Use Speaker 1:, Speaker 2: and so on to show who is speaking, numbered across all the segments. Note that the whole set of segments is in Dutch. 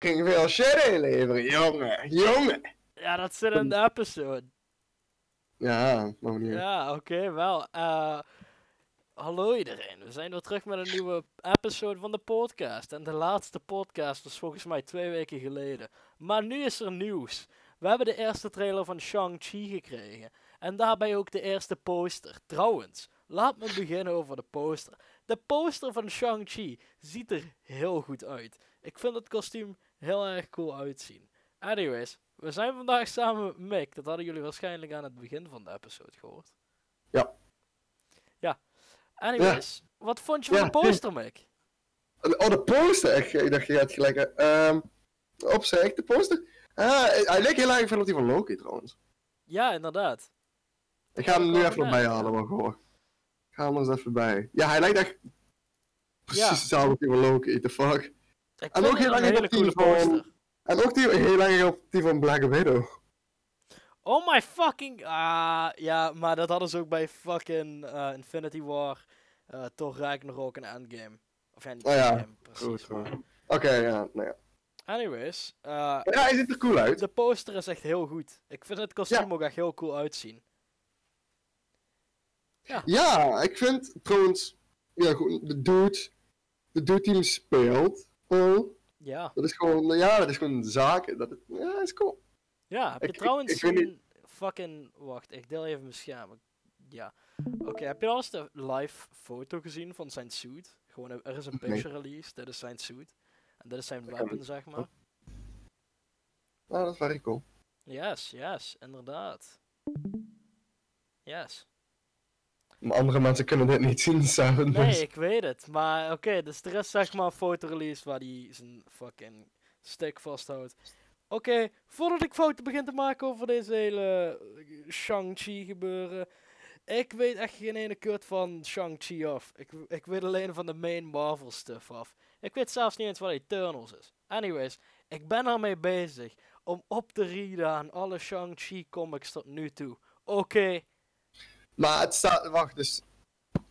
Speaker 1: fucking veel shit inleveren, jongen. Jongen.
Speaker 2: Ja, dat zit in de episode.
Speaker 1: Ja, maar niet.
Speaker 2: Ja, oké, wel. Eh, hallo iedereen. We zijn weer terug met een nieuwe episode van de podcast. En de laatste podcast was volgens mij twee weken geleden. Maar nu is er nieuws. We hebben de eerste trailer van Shang-Chi gekregen. En daarbij ook de eerste poster. Trouwens, laat me beginnen over de poster. De poster van Shang-Chi ziet er heel goed uit. Ik vind het kostuum heel erg cool uitzien. Anyways, we zijn vandaag samen met Mick. Dat hadden jullie waarschijnlijk aan het begin van de episode gehoord.
Speaker 1: Ja.
Speaker 2: Ja. Anyways, wat vond je van
Speaker 1: Ja,
Speaker 2: de poster, Mick?
Speaker 1: Oh, de poster. Ik, ik dacht, je gaat gelijk... eh, ehm, op zich, de poster. Ah, hij leek heel erg veel op die van Loki, trouwens.
Speaker 2: Ja, inderdaad.
Speaker 1: Ik ga hem nu even
Speaker 2: Ja.
Speaker 1: erbij halen, maar gewoon. Ik ga hem er eens even bij. Ja, hij lijkt echt... Precies hetzelfde als die van Loki, the fuck.
Speaker 2: Ik
Speaker 1: En
Speaker 2: vond
Speaker 1: ook
Speaker 2: het
Speaker 1: heel
Speaker 2: een
Speaker 1: erg
Speaker 2: hele
Speaker 1: dat die
Speaker 2: coole
Speaker 1: van-
Speaker 2: poster.
Speaker 1: En ook die, heel erg op die van Black Widow.
Speaker 2: Oh my fucking... Ah, ja, maar dat hadden ze ook bij fucking eh, Infinity War, eh Thor Ragnarok en Endgame. Of ja, niet
Speaker 1: Oh ja,
Speaker 2: Endgame, precies.
Speaker 1: Goed, hoor.
Speaker 2: maar-
Speaker 1: Oké, ja, nou ja.
Speaker 2: Anyways, eh,
Speaker 1: Ja, hij ziet er cool uit.
Speaker 2: de poster is echt heel goed. Ik vind het kostuum ook echt heel cool uitzien.
Speaker 1: Ja, ik vind trouwens, ja, gewoon de dude, de dude die hem speelt, oh,
Speaker 2: Ja.
Speaker 1: dat is gewoon, nou ja, dat is gewoon zaken. Dat is, ja, dat is cool.
Speaker 2: Ja, heb je
Speaker 1: Ik- ik-
Speaker 2: trouwens
Speaker 1: ik weet
Speaker 2: zien- fucking... Wacht, ik deel even mijn scherm. Ik- Ja. Oké, heb je al eens de live foto gezien van zijn suit? Gewoon, er is een
Speaker 1: Nee.
Speaker 2: picture release, dit is zijn suit. En dit is zijn
Speaker 1: kan
Speaker 2: weapon, zeg maar.
Speaker 1: Ja, dat is very cool.
Speaker 2: Yes, yes, inderdaad. Yes.
Speaker 1: Maar andere mensen kunnen dit niet zien dus. samen.
Speaker 2: Nee, ik weet het, maar oké, dus er is zeg maar een fotorelease waar hij zijn fucking stick vasthoudt. Oké, voordat ik fouten begin te maken over deze hele eh, Shang-Chi gebeuren, ik weet echt geen ene kut van Shang-Chi af. Ik, ik weet alleen van de main Marvel stuff af. Ik weet zelfs niet eens wat Eternals is. Anyways, ik ben ermee bezig om op te rieden aan alle Shang-Chi comics tot nu toe. Oké,
Speaker 1: Maar het staat, wacht, dus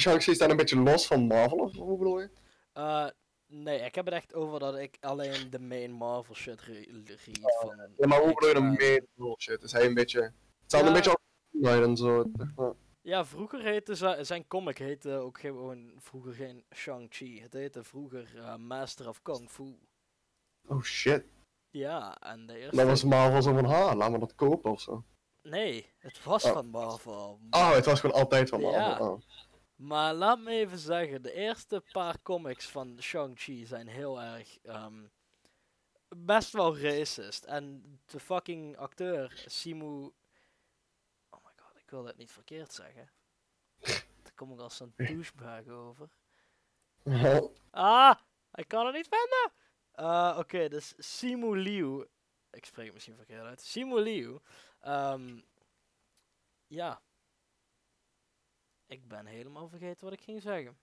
Speaker 1: Shang-Chi staat een beetje los van Marvel, of hoe bedoel je?
Speaker 2: Eh, nee, ik heb het echt over dat ik alleen de main Marvel shit re- read
Speaker 1: Oh.
Speaker 2: van...
Speaker 1: Ja, maar hoe bedoel je dan
Speaker 2: X-Men.
Speaker 1: meer bullshit? Is hij een beetje, het staat
Speaker 2: Ja.
Speaker 1: een beetje op Nee, dan zo. zeg maar.
Speaker 2: Ja, vroeger heette ze- zijn comic heette ook gewoon vroeger geen Shang-Chi. Het heette vroeger eh, Master of Kung Fu.
Speaker 1: Oh shit.
Speaker 2: Ja, en de eerste...
Speaker 1: Dan was Marvel zo van, ha, laat me dat kopen of zo.
Speaker 2: Nee, het was
Speaker 1: Oh.
Speaker 2: van Marvel.
Speaker 1: Oh, het was gewoon altijd van Marvel.
Speaker 2: Ja.
Speaker 1: oh.
Speaker 2: Maar laat me even zeggen, de eerste paar comics van Shang-Chi zijn heel erg... ehm, best wel racist. En de fucking acteur, Simu... Oh my god, ik wil dat niet verkeerd zeggen. Daar kom ik als zo'n douchebag over. Ah, ik kan het niet vinden. Eh, Oké, dus Simu Liu. Ik spreek het misschien verkeerd uit. Simu Liu. ehm, ja. Ik ben helemaal vergeten wat ik ging zeggen.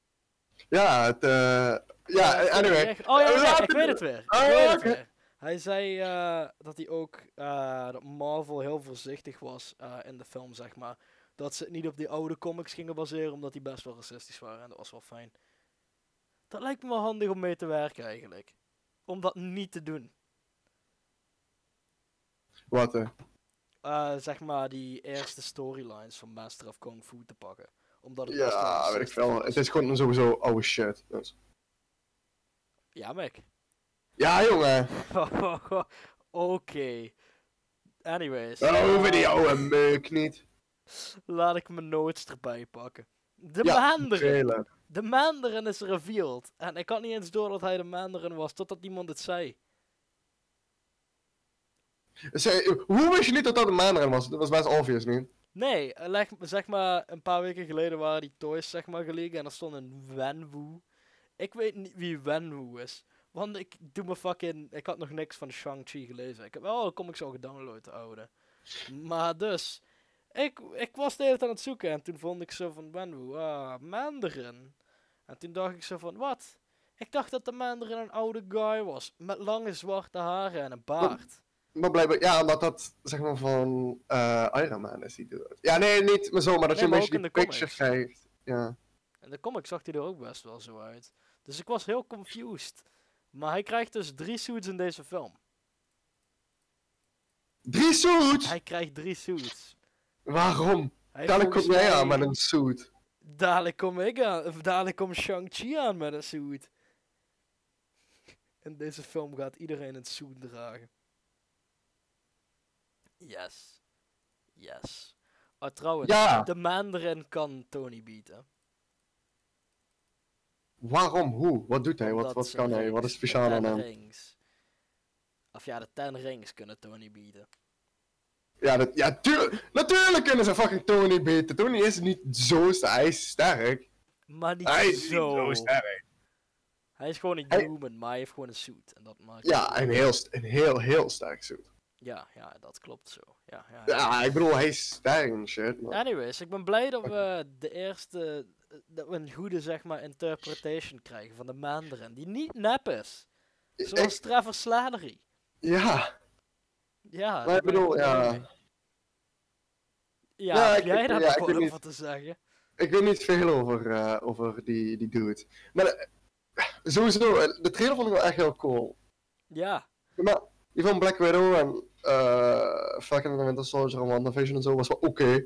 Speaker 1: Ja, het, eh, ja,
Speaker 2: ik vind het
Speaker 1: anyway.
Speaker 2: echt- Oh ja, ja, ja,
Speaker 1: Laat
Speaker 2: ik
Speaker 1: het
Speaker 2: weet
Speaker 1: doen.
Speaker 2: het weer. Ik
Speaker 1: Ah,
Speaker 2: weet het
Speaker 1: oké.
Speaker 2: weer. Hij zei eh, dat hij ook eh, dat Marvel heel voorzichtig was eh, in de film, zeg maar. Dat ze het niet op die oude comics gingen baseren, omdat die best wel racistisch waren. En dat was wel fijn. Dat lijkt me wel handig om mee te werken, eigenlijk. Om dat niet te doen.
Speaker 1: Wat, eh,
Speaker 2: Eh, zeg maar die eerste storylines van Master of Kung Fu te pakken. Omdat het best wel
Speaker 1: ja, weet ik
Speaker 2: racistisch
Speaker 1: veel.
Speaker 2: was.
Speaker 1: Het is gewoon sowieso oude shit. dus.
Speaker 2: Ja, Mac.
Speaker 1: Ja, jongen.
Speaker 2: Oké. Anyways.
Speaker 1: We hoeven
Speaker 2: eh,
Speaker 1: die oude meuk niet.
Speaker 2: Laat ik mijn notes erbij pakken. De
Speaker 1: Ja,
Speaker 2: Maanderen.
Speaker 1: Trailer.
Speaker 2: De Maanderen is revealed. En ik had niet eens door dat hij de Maanderen was, totdat iemand het zei.
Speaker 1: Zij- hoe wist je niet dat dat een maandag was? Dat was best obvious, niet?
Speaker 2: Nee, eh, leg- zeg maar, een paar weken geleden waren die toys zeg maar gelegen en er stond een Wenwu. Ik weet niet wie Wenwu is. Want ik doe me fucking... Ik had nog niks van Shang-Chi gelezen. Ik heb wel kom ik zo gedownload, de oude. Maar dus... Ik, ik was de hele tijd aan het zoeken en toen vond ik zo van Wenwu. Ah, Mandarin. En toen dacht ik zo van, wat? Ik dacht dat de Mandarin een oude guy was. Met lange zwarte haren en een baard.
Speaker 1: Maar blijkbaar, ja, omdat dat zeg maar van eh Iron Man is die doet. Ja, nee, niet maar zo, maar dat
Speaker 2: Nee,
Speaker 1: je
Speaker 2: maar
Speaker 1: een beetje
Speaker 2: ook
Speaker 1: die
Speaker 2: in de
Speaker 1: picture
Speaker 2: comics.
Speaker 1: krijgt. Ja.
Speaker 2: En de comic zag hij er ook best wel zo uit. Dus ik was heel confused. Maar hij krijgt dus drie suits in deze film.
Speaker 1: Drie suits!
Speaker 2: Hij krijgt drie suits.
Speaker 1: Waarom?
Speaker 2: Hij heeft
Speaker 1: Dadelijk kom
Speaker 2: volgens
Speaker 1: jij
Speaker 2: mij-
Speaker 1: aan met een suit.
Speaker 2: Dadelijk kom ik aan. Of dadelijk komt Shang-Chi aan met een suit. In deze film gaat iedereen een suit dragen. Yes. Yes. Oh, trouwens.
Speaker 1: Ja,
Speaker 2: De Mandarin kan Tony bieden.
Speaker 1: waarom? Hoe? Wat doet hij? Wat, wat kan hij? Wat is speciaal aan hem?
Speaker 2: Rings. Of ja, de Ten Rings kunnen Tony bieden.
Speaker 1: Ja, dat, ja tuurlijk, natuurlijk kunnen ze fucking Tony beten. Tony is niet zo sterk. Hij is sterk.
Speaker 2: Maar niet
Speaker 1: Hij is niet
Speaker 2: zo.
Speaker 1: zo sterk.
Speaker 2: Hij is gewoon een
Speaker 1: Hij-
Speaker 2: human, maar hij heeft gewoon een suit. En dat maakt
Speaker 1: Ja, een heel, st- een heel, heel sterk suit.
Speaker 2: ja, ja, dat klopt zo. Ja, ja, ja.
Speaker 1: Ja, ik bedoel, hij is sterk en shit. maar-
Speaker 2: Anyways, ik ben blij dat we de eerste. dat we een goede, zeg maar, interpretation krijgen van de Mandarin. Die niet nep is. Zoals
Speaker 1: Ik-
Speaker 2: Trevor Slattery.
Speaker 1: ja,
Speaker 2: Ja,
Speaker 1: maar ik
Speaker 2: daar ben
Speaker 1: bedoel,
Speaker 2: wel blij
Speaker 1: ja.
Speaker 2: mee. Ja,
Speaker 1: Ja,
Speaker 2: heb
Speaker 1: ik-
Speaker 2: jij
Speaker 1: ik-
Speaker 2: daar
Speaker 1: ja,
Speaker 2: nog
Speaker 1: ik
Speaker 2: wat
Speaker 1: weet
Speaker 2: over
Speaker 1: niet.
Speaker 2: te zeggen?
Speaker 1: Ik weet niet veel over, eh, over die, die dude. Maar eh, sowieso, eh, de trailer vond ik wel echt heel cool.
Speaker 2: Ja,
Speaker 1: Maar die van Black Widow en eh fucking The Winter Soldier en WandaVision en zo was wel oké.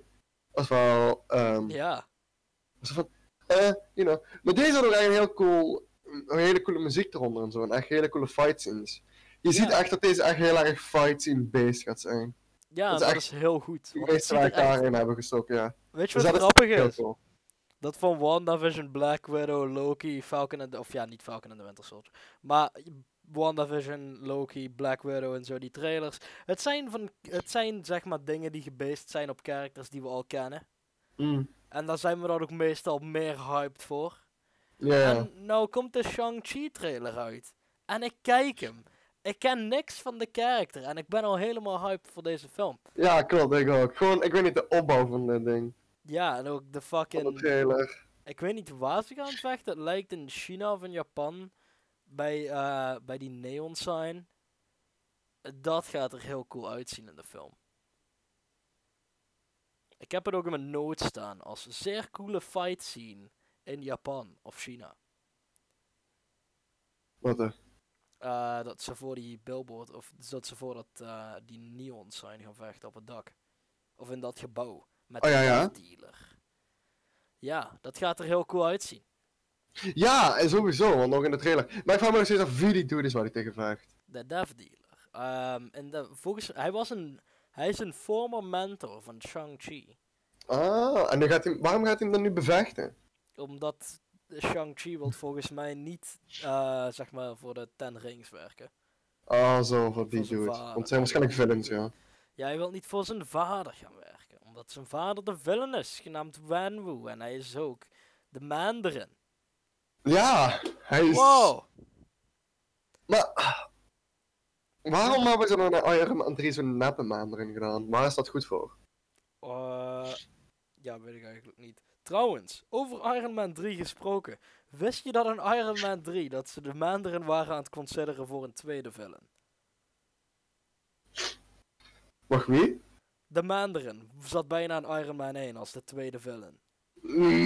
Speaker 1: Was wel... ehm,
Speaker 2: ja.
Speaker 1: was van, eh, you know. Maar deze had ook echt een heel cool... Een hele coole muziek eronder en zo. En echt hele coole fight scenes. Je ziet echt dat deze echt heel erg fight scene based gaat
Speaker 2: Oh,
Speaker 1: zijn.
Speaker 2: Ja, dat,
Speaker 1: Dat
Speaker 2: is,
Speaker 1: is
Speaker 2: heel
Speaker 1: Die
Speaker 2: goed. want het
Speaker 1: meeste
Speaker 2: ziet
Speaker 1: waar
Speaker 2: er
Speaker 1: ik
Speaker 2: echt-
Speaker 1: daarin hebben gestoken, ja.
Speaker 2: Weet je
Speaker 1: Dus
Speaker 2: wat
Speaker 1: dat is
Speaker 2: grappig
Speaker 1: heel
Speaker 2: is?
Speaker 1: cool.
Speaker 2: Dat van WandaVision, Black Widow, Loki, Falcon en... Of ja, niet Falcon en de Winter Soldier. Maar WandaVision, Loki, Black Widow en zo, die trailers. Het zijn, van, het zijn zeg maar dingen die gebaseerd zijn op characters die we al kennen.
Speaker 1: Mm,
Speaker 2: En daar zijn we dan ook meestal meer hyped voor.
Speaker 1: Ja, ja.
Speaker 2: En nou komt de Shang-Chi trailer uit. En ik kijk hem. Ik ken niks van de character. En ik ben al helemaal hyped voor deze film.
Speaker 1: Ja, klopt, ik ook. Gewoon, ik weet niet, de opbouw van dit ding.
Speaker 2: Ja, en ook de
Speaker 1: Van de
Speaker 2: fucking...
Speaker 1: trailer.
Speaker 2: Ik weet niet waar ze gaan vechten. Het lijkt in China of in Japan. Bij, eh, bij die neon sign. Dat gaat er heel cool uitzien in de film. Ik heb het ook in mijn notes staan als zeer coole fight scene in Japan of China.
Speaker 1: Wat de?
Speaker 2: Eh, dat ze voor die billboard of dat ze voor dat, eh, die neon sign gaan vechten op het dak. Of in dat gebouw. Met
Speaker 1: Oh,
Speaker 2: de
Speaker 1: ja, ja.
Speaker 2: dealer. Ja, dat gaat er heel cool uitzien.
Speaker 1: Ja, en sowieso, want nog in de trailer. Maar ik vraag me nog steeds af wie die dude is waar hij tegen vraagt.
Speaker 2: de dev dealer. Ehm, en de, volgens, hij, was een, hij is een former mentor van Shang-Chi.
Speaker 1: Ah, en dan gaat hij, waarom gaat hij hem dan nu bevechten?
Speaker 2: Omdat Shang-Chi wil volgens mij niet eh, zeg maar voor de Ten Rings werken.
Speaker 1: Ah, zo, voor die
Speaker 2: Voor zijn
Speaker 1: dude.
Speaker 2: vader.
Speaker 1: Want het zijn waarschijnlijk villains, ja.
Speaker 2: Ja, hij wil niet voor zijn vader gaan werken. Omdat zijn vader de villain is, genaamd Wenwu. En hij is ook de Mandarin.
Speaker 1: Ja, hij is...
Speaker 2: Wow!
Speaker 1: Maar... ah, Waarom hebben ze dan een Iron Man 3 zo'n neppe maandering gedaan? Waar is dat goed voor?
Speaker 2: Eh, ja, weet ik eigenlijk niet. Trouwens, over Iron Man 3 gesproken. Wist je dat in Iron Man 3 dat ze de Mandarin waren aan het consideren voor een tweede villain?
Speaker 1: Wacht, wie?
Speaker 2: De Mandarin zat bijna in Iron Man 1 als de tweede villain.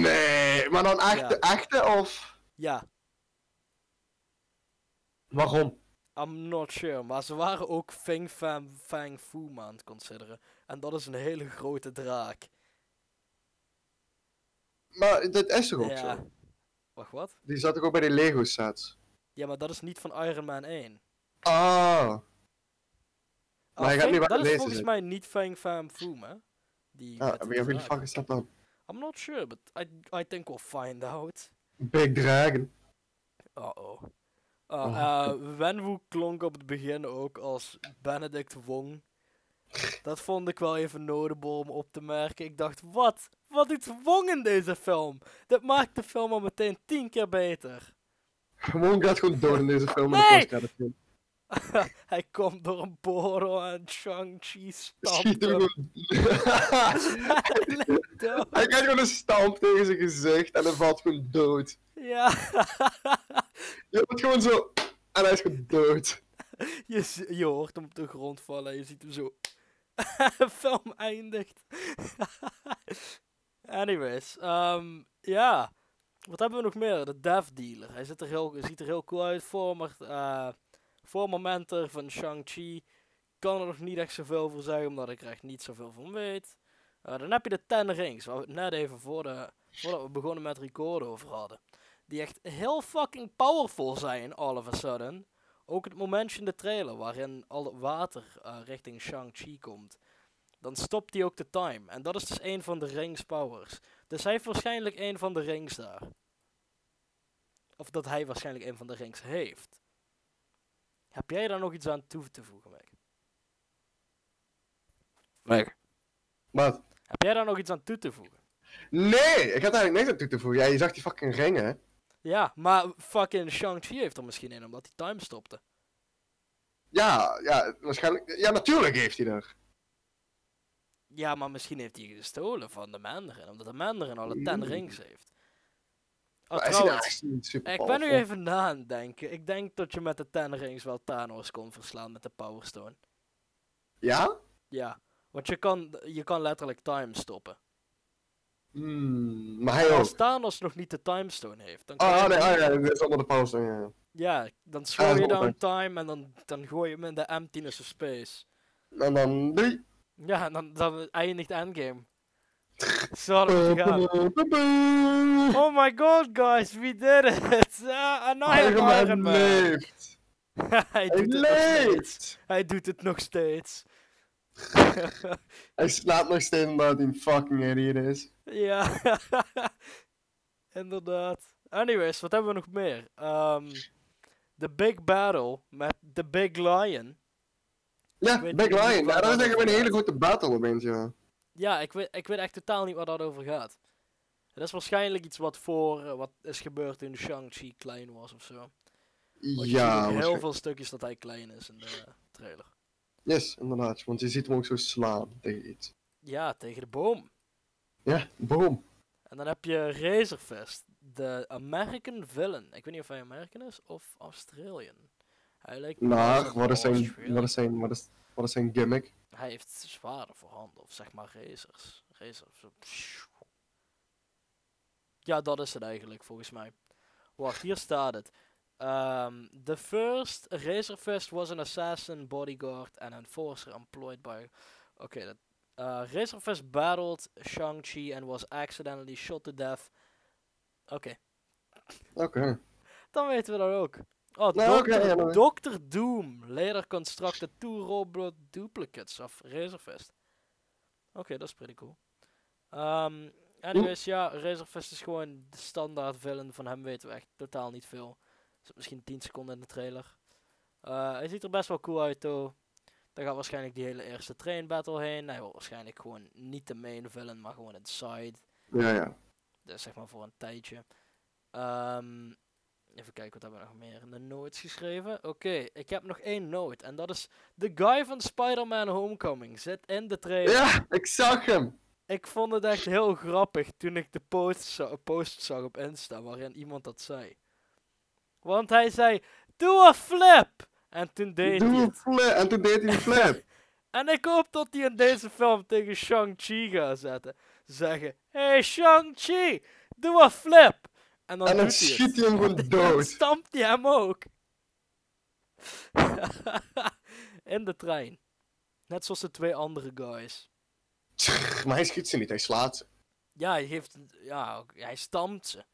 Speaker 1: Nee, maar dan echt
Speaker 2: Ja.
Speaker 1: de echte of...
Speaker 2: Ja,
Speaker 1: Waarom?
Speaker 2: I'm not sure, maar ze waren ook Fing Fam Fang Foom aan het consideren. En dat is een hele grote draak.
Speaker 1: Maar dat is toch ook
Speaker 2: ja.
Speaker 1: zo?
Speaker 2: Wacht, wat?
Speaker 1: Die zat ook bij die Lego sets.
Speaker 2: Ja, maar dat is niet van Iron Man 1.
Speaker 1: Ah,
Speaker 2: Ah,
Speaker 1: Maar hij gaat
Speaker 2: Fang-
Speaker 1: nu wel
Speaker 2: dat is
Speaker 1: lezen,
Speaker 2: volgens
Speaker 1: zeg.
Speaker 2: mij niet Fang Fam Foom, hè? Die
Speaker 1: ah
Speaker 2: met die
Speaker 1: wie wie de
Speaker 2: draak.
Speaker 1: fuck is dat dan?
Speaker 2: I'm not sure, but I, I think we'll find out.
Speaker 1: Big Dragon.
Speaker 2: Uh-oh. Uh,
Speaker 1: Oh.
Speaker 2: eh, Wenwu klonk op het begin ook als Benedict Wong. Dat vond ik wel even notable om op te merken. Ik dacht, wat? Wat doet Wong in deze film? Dat maakt de film al meteen tien keer beter.
Speaker 1: Gewoon gaat gewoon dood in deze film.
Speaker 2: Nee!
Speaker 1: en de film.
Speaker 2: Hij komt door een portal en Shang-Chi stampt
Speaker 1: Schiet hem
Speaker 2: hem.
Speaker 1: gewoon.
Speaker 2: Hij ligt dood.
Speaker 1: Hij krijgt gewoon een stamp tegen zijn gezicht en hij valt gewoon dood.
Speaker 2: Ja.
Speaker 1: Je wordt gewoon zo. En hij is gewoon dood.
Speaker 2: Je, z- je hoort hem op de grond vallen en je ziet hem zo. De film eindigt. Anyways, ehm, ja. Wat hebben we nog meer? De Dev Dealer. Hij zit er heel, ziet er heel cool uit. Former, eh former mentor van Shang-Chi. Kan er nog niet echt zoveel voor zeggen, omdat ik er echt niet zoveel van weet. Eh, dan heb je de Ten Rings, waar we het net even voor de, voordat we begonnen met recorden over hadden. Die echt heel fucking powerful zijn, all of a sudden. Ook het momentje in de trailer waarin al het water eh, richting Shang-Chi komt. Dan stopt hij ook de time. En dat is dus een van de rings powers. Dus hij heeft waarschijnlijk een van de rings daar. Of dat hij waarschijnlijk een van de rings heeft. Heb jij daar nog iets aan toe te voegen, Mike? Mike.
Speaker 1: Wat?
Speaker 2: Heb jij daar nog iets aan toe te voegen?
Speaker 1: Nee, ik had eigenlijk niks aan toe te voegen. Ja, je zag die fucking ringen, hè?
Speaker 2: Ja, maar fucking Shang-Chi heeft er misschien in, omdat hij time stopte.
Speaker 1: Ja, ja, waarschijnlijk. Ja, natuurlijk heeft hij er.
Speaker 2: Ja, maar misschien heeft hij gestolen van de Mandarin, omdat de Mandarin alle
Speaker 1: Mm.
Speaker 2: ten rings heeft. Oh,
Speaker 1: Maar hij ziet er
Speaker 2: trouwens,
Speaker 1: echt niet super
Speaker 2: ik ben nu
Speaker 1: powerful.
Speaker 2: even na aan het denken. Ik denk dat je met de ten rings wel Thanos kon verslaan met de Power Stone.
Speaker 1: Ja?
Speaker 2: Ja, want je kan, je kan letterlijk time stoppen.
Speaker 1: Hmm, maar hij ook.
Speaker 2: Als Thanos nog niet de time stone heeft, dan kan
Speaker 1: Oh,
Speaker 2: je-
Speaker 1: nee, oh, ja, dat is onder de pauze. Ja, ja.
Speaker 2: ja, dan
Speaker 1: Ah,
Speaker 2: slow
Speaker 1: dat is
Speaker 2: je
Speaker 1: wel
Speaker 2: down time en dan, dan gooi je hem in de emptiness of space.
Speaker 1: En dan. Doei.
Speaker 2: Ja, en dan, dan eindigt Endgame. Zo
Speaker 1: Eh,
Speaker 2: hadden we het gedaan. Oh my god, guys, we did it! Ah, en nou
Speaker 1: Iron Man
Speaker 2: Iron Man.
Speaker 1: leeft.
Speaker 2: Hij
Speaker 1: eh, Hij
Speaker 2: doet het nog
Speaker 1: leeft.
Speaker 2: steeds. Hij doet het nog steeds.
Speaker 1: Hij slaapt nog steeds omdat hij een fucking idiot is.
Speaker 2: Ja, inderdaad. Anyways, wat hebben we nog meer? Ehm, the Big Battle met The Big Lion.
Speaker 1: Ja,
Speaker 2: Ik weet
Speaker 1: Big
Speaker 2: niet
Speaker 1: Lion.
Speaker 2: waar
Speaker 1: Ja, dat is
Speaker 2: dat
Speaker 1: echt
Speaker 2: over
Speaker 1: een hele
Speaker 2: gaat.
Speaker 1: grote battle opeens, ja.
Speaker 2: Ja, ik weet, ik weet echt totaal niet waar dat over gaat. Dat is waarschijnlijk iets wat voor eh, wat is gebeurd toen Shang-Chi klein was of zo. Want je ziet ook
Speaker 1: Ja,
Speaker 2: heel
Speaker 1: waarschijnlijk.
Speaker 2: veel stukjes dat hij klein is in de eh, trailer.
Speaker 1: Yes, inderdaad. Want je ziet hem ook zo slaan tegen iets.
Speaker 2: Ja, tegen de boom.
Speaker 1: Ja, boom.
Speaker 2: En dan heb je Razorfest, de American villain. Ik weet niet of hij American is of Australian. Hij lijkt me
Speaker 1: Maar,
Speaker 2: als een
Speaker 1: wat is zijn,
Speaker 2: Australian.
Speaker 1: wat is zijn, wat is, wat is zijn gimmick?
Speaker 2: Hij heeft zwaarden voor handen, of zeg maar racers. Racers. zo, pssst. Ja, dat is het eigenlijk, volgens mij. Wacht, hier staat het. Ehm, the first Razorfist was an assassin, bodyguard and enforcer employed by... Oké, dat... eh, Razorfist battled Shang-Chi and was accidentally shot to death. Oké,
Speaker 1: Oké.
Speaker 2: dan weten we dat ook. Oh,
Speaker 1: Nou, oké,
Speaker 2: Dr.
Speaker 1: ja, dan-
Speaker 2: Dr. Doom. Later constructed two Roblox duplicates of Razorfest. Oké, dat is pretty cool. Ehm anyways, ja, Razorfest is gewoon de standaard villain. Van hem weten we echt totaal niet veel. Zit misschien 10 seconden in de trailer. Eh, hij ziet er best wel cool uit, though. Dan gaat waarschijnlijk die hele eerste train battle heen. Hij wordt waarschijnlijk gewoon niet de main villain, maar gewoon een side.
Speaker 1: Ja, ja.
Speaker 2: Dus zeg maar voor een tijdje. Ehm, even kijken, wat hebben we nog meer in de notes geschreven? Oké, ik heb nog één note. En dat is de guy van Spider-Man Homecoming. Zit in de trailer.
Speaker 1: Ja, ik zag hem.
Speaker 2: Ik vond het echt heel grappig toen ik de post, za- post zag op Insta waarin iemand dat zei. Want hij zei, doe een flip! En toen deed hij
Speaker 1: Doe een
Speaker 2: het.
Speaker 1: flip. En toen deed hij een flip.
Speaker 2: En ik hoop dat hij in deze film tegen Shang-Chi gaat zetten. Zeggen, hey Shang-Chi, doe een flip! En dan,
Speaker 1: en dan
Speaker 2: doet hij het.
Speaker 1: schiet hij hem gewoon
Speaker 2: Dan
Speaker 1: dood.
Speaker 2: stampt hij hem ook. In de trein. Net zoals de twee andere guys.
Speaker 1: Maar hij schiet ze niet, hij slaat ze.
Speaker 2: Ja, hij, heeft, ja, ook- hij stampt ze.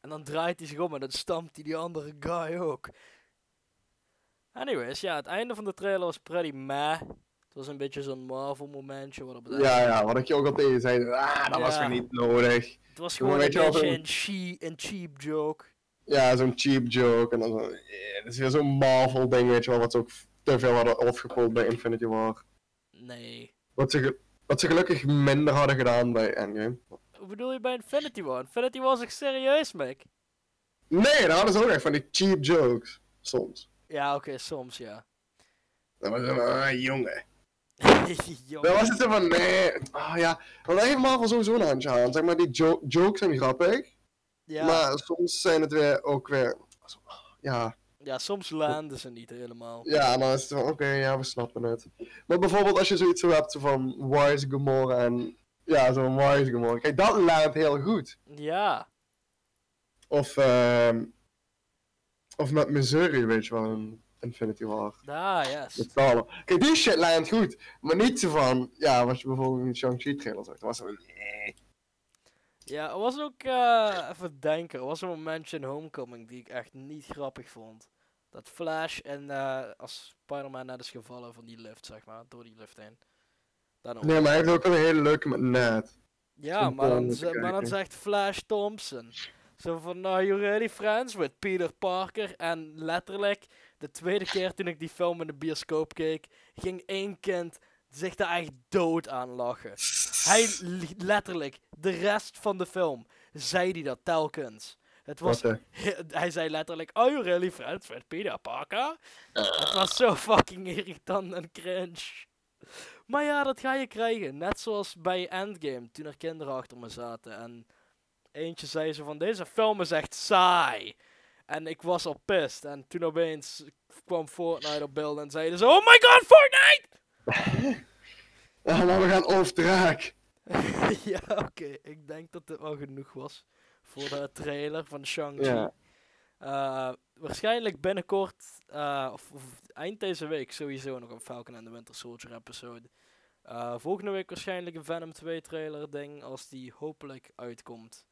Speaker 2: En dan draait hij zich om en dan stampt hij die andere guy ook. Anyways, ja, het einde van de trailer was pretty meh. Het was een beetje zo'n Marvel momentje. Wat op het, einde-
Speaker 1: Ja, ja, wat ik je ook al tegen zei. Ah, dat was
Speaker 2: Ja.
Speaker 1: gewoon niet nodig.
Speaker 2: het was
Speaker 1: Jongen,
Speaker 2: gewoon een
Speaker 1: weet je wel,
Speaker 2: beetje
Speaker 1: zo'n-
Speaker 2: een, she, een cheap joke.
Speaker 1: Ja, zo'n cheap joke. En dan zo. eh, Het is weer zo'n Marvel ding, weet je wel. Wat ze ook te veel hadden opgepoeld bij Infinity War.
Speaker 2: Nee.
Speaker 1: Wat ze, ge- wat ze gelukkig minder hadden gedaan bij Endgame.
Speaker 2: Wat bedoel je bij Infinity War? Infinity War is echt serieus, Mick.
Speaker 1: Nee, daar hadden ze ook echt van die cheap jokes. Soms.
Speaker 2: Ja, oké, soms ja.
Speaker 1: Dan was het van, ah, jongen.
Speaker 2: Jongen.
Speaker 1: Dan was het zo van, nee. Ah ja. Want daar heeft Marvel sowieso een handje aan. Zeg maar, die jo- jokes zijn grappig.
Speaker 2: ja,
Speaker 1: Maar soms zijn het weer ook weer. zo, ah, Ja.
Speaker 2: ja, soms landen ze niet helemaal.
Speaker 1: Ja, en dan is het van, oké, ja, we snappen het. Maar bijvoorbeeld als je zoiets zo hebt zo van, why is Gamora en... Ja, zo'n why is Gamora. Kijk, dat laat heel goed.
Speaker 2: Ja.
Speaker 1: Of, ehm, of met Missouri, weet je wel, in Infinity War.
Speaker 2: Ah, yes.
Speaker 1: Met z'n allen. Kijk, die shit lijnt goed. Maar niet zo van, ja, wat je bijvoorbeeld in de Shang-Chi trailer zag. Dat was zo, nee.
Speaker 2: Ja, er was ook, eh even denken, er was een momentje in Homecoming die ik echt niet grappig vond. Dat Flash en eh, als Spider-Man net is gevallen van die lift, zeg maar, door die lift heen. Dan ook.
Speaker 1: Nee, maar hij heeft ook een hele leuke met Ned.
Speaker 2: ja,
Speaker 1: zo'n
Speaker 2: maar
Speaker 1: bal
Speaker 2: dan,
Speaker 1: moeten
Speaker 2: ze- maar dan
Speaker 1: kijken.
Speaker 2: zegt Flash Thompson. Zo van, are you really friends with Peter Parker? En letterlijk, de tweede keer toen ik die film in de bioscoop keek, ging één kind zich daar echt dood aan lachen. Hij li- letterlijk, de rest van de film, zei hij dat telkens. Het was,
Speaker 1: Wat, eh,
Speaker 2: hij zei letterlijk, are you really friends with Peter Parker? Het was zo fucking irritant en cringe. Maar ja, dat ga je krijgen. Net zoals bij Endgame, toen er kinderen achter me zaten. En eentje zei ze van, deze film is echt saai. En ik was al pissed. En toen opeens kwam Fortnite op beeld en zeiden ze, oh my god, Fortnite!
Speaker 1: Ja, maar we gaan off track.
Speaker 2: ja, oké. Ik denk dat dit wel genoeg was voor de trailer van Shang-Chi.
Speaker 1: Ja.
Speaker 2: Eh, waarschijnlijk binnenkort, eh, of, of eind deze week sowieso nog een Falcon and the Winter Soldier episode. Eh, volgende week waarschijnlijk een Venom 2 trailer ding, als die hopelijk uitkomt.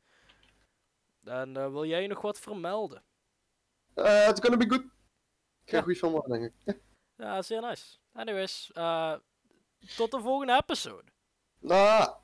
Speaker 2: En eh, wil jij nog wat vermelden?
Speaker 1: Eh, it's gonna be good. Ik
Speaker 2: Ja.
Speaker 1: krijg goed van worden, denk ik.
Speaker 2: Ja, zeer nice. Anyways, eh, tot de volgende episode.
Speaker 1: Ah.